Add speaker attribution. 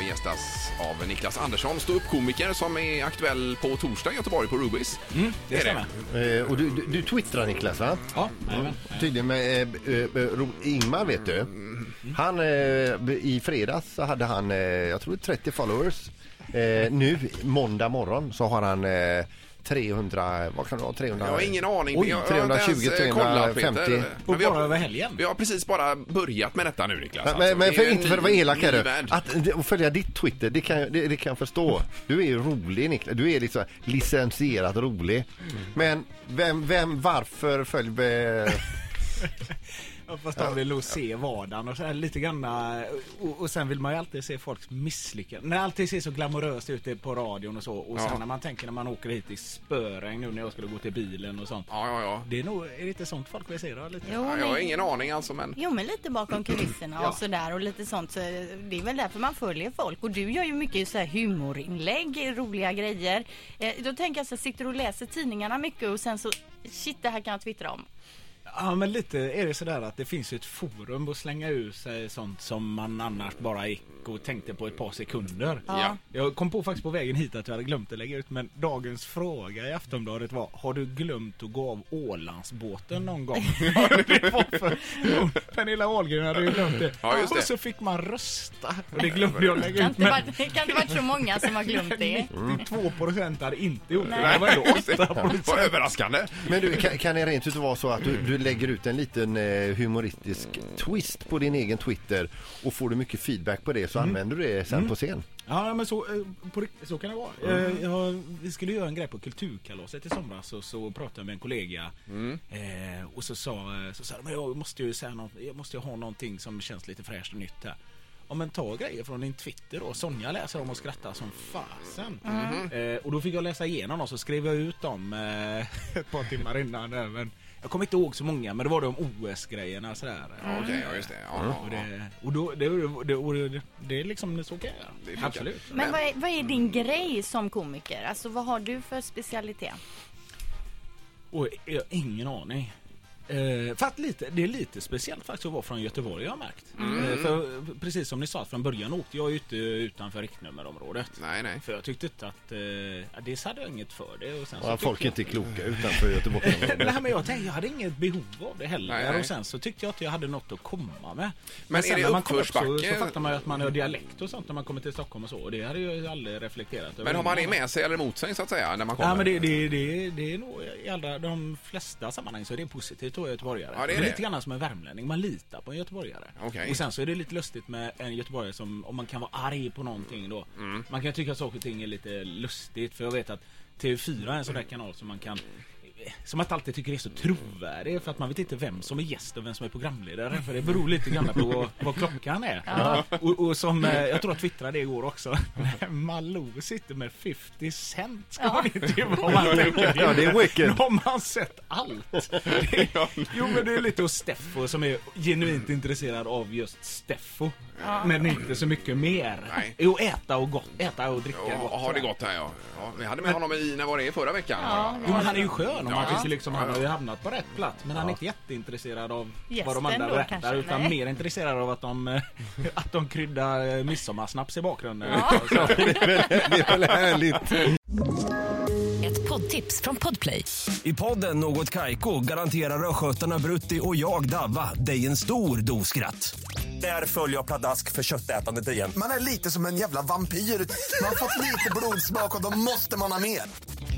Speaker 1: Vi gästas av Niklas Andersson, ståuppkomiker som är aktuell på torsdag i Göteborg på Rubis. Mm, det är det.
Speaker 2: Eh, och du, du, du twittrar Niklas va? Ja, Tydligen med eh, eh, Ro- Ingmar vet du. Han, eh, I fredags så hade han, eh, jag tror 30 followers. Eh, nu måndag morgon så har han eh, 300, vad kan det vara? 300?
Speaker 1: Jag har ingen aning.
Speaker 2: Oj,
Speaker 1: Jag har inte ens,
Speaker 2: 320,
Speaker 1: eh, kollat,
Speaker 2: 350.
Speaker 1: Peter. Men vi har- Vi har precis bara börjat med detta nu Niklas.
Speaker 2: Men,
Speaker 1: Alltså,
Speaker 2: men, men
Speaker 1: det är ju
Speaker 2: för,
Speaker 1: en
Speaker 2: inte för att
Speaker 1: ny-
Speaker 2: vara elak här
Speaker 1: ny
Speaker 2: du.
Speaker 1: värld.
Speaker 2: Att det- och följa ditt Twitter, det kan, jag- det, det kan jag förstå. Du är ju rolig Niklas. Du är liksom licensierat rolig. Men vem, vem, varför följer... eh,
Speaker 3: Ja, fast han vill nog se vardagen och så här lite grann. eh, Och, och sen vill man ju alltid se folks misslyckanden. När allting ser så glamoröst ut på radion och så. Och
Speaker 1: Ja.
Speaker 3: sen när man tänker när man åker hit i spöregn nu när jag skulle gå till bilen och sånt.
Speaker 1: Ja, ja, ja.
Speaker 3: Det är nog, är det inte sånt folk vill se då? Lite.
Speaker 4: Jo,
Speaker 1: Ja,
Speaker 4: men,
Speaker 1: Jag har ingen aning alltså men...
Speaker 4: jo, men lite bakom kulisserna
Speaker 1: Ja.
Speaker 4: och sådär och lite sånt. Så det är väl därför man följer folk. Och du gör ju mycket så här humorinlägg, roliga grejer. Eh, då tänker jag så här, sitter du och läser tidningarna mycket och sen så shit, det här kan jag twittra om.
Speaker 3: Ja men lite är det sådär att det finns ju ett forum att slänga ur sig sånt som man annars bara gick och tänkte på ett par sekunder.
Speaker 1: Ja.
Speaker 3: Jag kom på faktiskt på vägen hit att jag hade glömt att lägga ut men dagens fråga i Aftonbladet var Har du glömt att gå av Ålandsbåten någon gång? Vad det var för- Jo, Pernilla Ahlgren hade ju glömt det.
Speaker 1: Ja, just det.
Speaker 3: Och så fick man rösta. Och det glömde jag
Speaker 4: Kan
Speaker 3: lägga ut.
Speaker 4: inte vara- det kan inte varit så många som har glömt det.
Speaker 3: 92% hade inte gjort det.
Speaker 4: Nej.
Speaker 3: Det var ändå 8%.
Speaker 1: Vad överraskande.
Speaker 2: Men du, kan, kan det rent ut vara så att du, du lägger ut en liten eh, humoristisk twist på din egen Twitter och får du mycket feedback på det
Speaker 3: Mm.
Speaker 2: så använder du det sen på scen?
Speaker 3: Ja men så, eh, på, rikt- så kan det vara.
Speaker 1: Mm.
Speaker 3: Eh, Jag, vi skulle göra en grej på Kulturkalaset i somras och så pratade jag med en kollega
Speaker 1: Mm.
Speaker 3: eh, och så sa, så sa jag, men jag måste ju säga något, jag måste ju ha någonting som känns lite fräscht och nytt här. Ja men ta grejer från din Twitter då. Sonja läser dem och skrattar som fasen.
Speaker 1: Mm-hmm.
Speaker 3: Eh, och då fick jag läsa igenom dem så skrev jag ut dem eh, ett par timmar innan även. Jag kommer inte ihåg så många men det var de OS-grejerna sådär.
Speaker 1: Ja, Okej, ja just det.
Speaker 2: Mm.
Speaker 1: Ja,
Speaker 3: Och,
Speaker 1: ja, ja.
Speaker 3: det, och då, det, det, och det, det är liksom så kan jag göra.
Speaker 1: funkar.
Speaker 3: Absolut.
Speaker 4: Men vad är, vad är din grej som komiker? Alltså vad har du för specialitet?
Speaker 3: Och jag har ingen aning. Eh, för att lite, det är lite speciellt faktiskt att vara från Göteborg jag har märkt.
Speaker 2: Mm.
Speaker 3: Eh, för, precis som ni sa att från början åkte jag ju inte utanför riktnummerområdet.
Speaker 1: Nej, nej.
Speaker 3: För jag tyckte inte att, eh, ja, dels hade jag inget för det. Och sen så
Speaker 2: Ja,
Speaker 3: tyckte
Speaker 2: folk är
Speaker 3: jag-
Speaker 2: inte kloka utanför Göteborg.
Speaker 3: Nej men jag tänkte, jag hade inget behov av det heller.
Speaker 1: Nej, nej.
Speaker 3: Och sen så tyckte jag att jag hade något att komma med. Men,
Speaker 1: är
Speaker 3: sen
Speaker 1: det
Speaker 3: när man kom upp så,
Speaker 1: uppförsbacke?
Speaker 3: så fattar man ju att man har dialekt och sånt när man kommer till Stockholm och så. Och det hade jag ju aldrig reflekterat över.
Speaker 1: Men har man det
Speaker 3: innan.
Speaker 1: med sig eller emot sig så att säga när man kommer?
Speaker 3: Ja men det, det, det, det är nog i alla, de flesta sammanhang så är det positivt att vara göteborgare.
Speaker 1: Ja, det är det.
Speaker 3: lite grann som en värmlänning, man litar på en göteborgare.
Speaker 1: Okej.
Speaker 3: Och sen så är det lite lustigt med en göteborgare som, om man kan vara arg på någonting då.
Speaker 2: Mm.
Speaker 3: Man kan tycka att saker och ting är lite lustigt för jag vet att TV4 är en
Speaker 2: Mm.
Speaker 3: sån där kanal som man kan som man inte alltid tycker är så trovärdig för att man vet inte vem som är gäst och vem som är programledare för det beror lite grann på vad klockan är. Och, och som, eh, jag tror jag twittrade det igår också, Malou sitter med 50 cent ska man intervjua om man tänker
Speaker 2: Ja, det är wicked.
Speaker 3: Nu har man sett allt. Det, jo men det är lite hos Steffo som är genuint intresserad av just Steffo. Men inte så mycket mer.
Speaker 1: Nej.
Speaker 3: Jo äta och gott, äta och dricka
Speaker 1: Ja,
Speaker 3: gott.
Speaker 1: har det gått här ja. ja. Vi hade med honom i, när var det, förra veckan? Ja.
Speaker 3: Jo men han är ju skön och man
Speaker 1: Ja.
Speaker 3: tycker liksom han har ju hamnat på rätt plats men han är inte jätteintresserad av vad
Speaker 4: Gästen
Speaker 3: de andra
Speaker 4: då,
Speaker 3: berättar
Speaker 4: kanske?
Speaker 3: utan
Speaker 4: Nej.
Speaker 3: mer intresserad av att de, eh, att de kryddar eh, midsommarsnaps i bakgrunden. Så-
Speaker 2: det är väl härligt?
Speaker 5: Ett poddtips från Podplay.
Speaker 6: I podden Något Kaiko garanterar östgötarna Brutti och jag, Davva, dig en stor dos skratt. Där följer jag pladask för köttätandet igen.
Speaker 7: Man är lite som en jävla vampyr. Man har fått lite blodsmak och då måste man ha mer.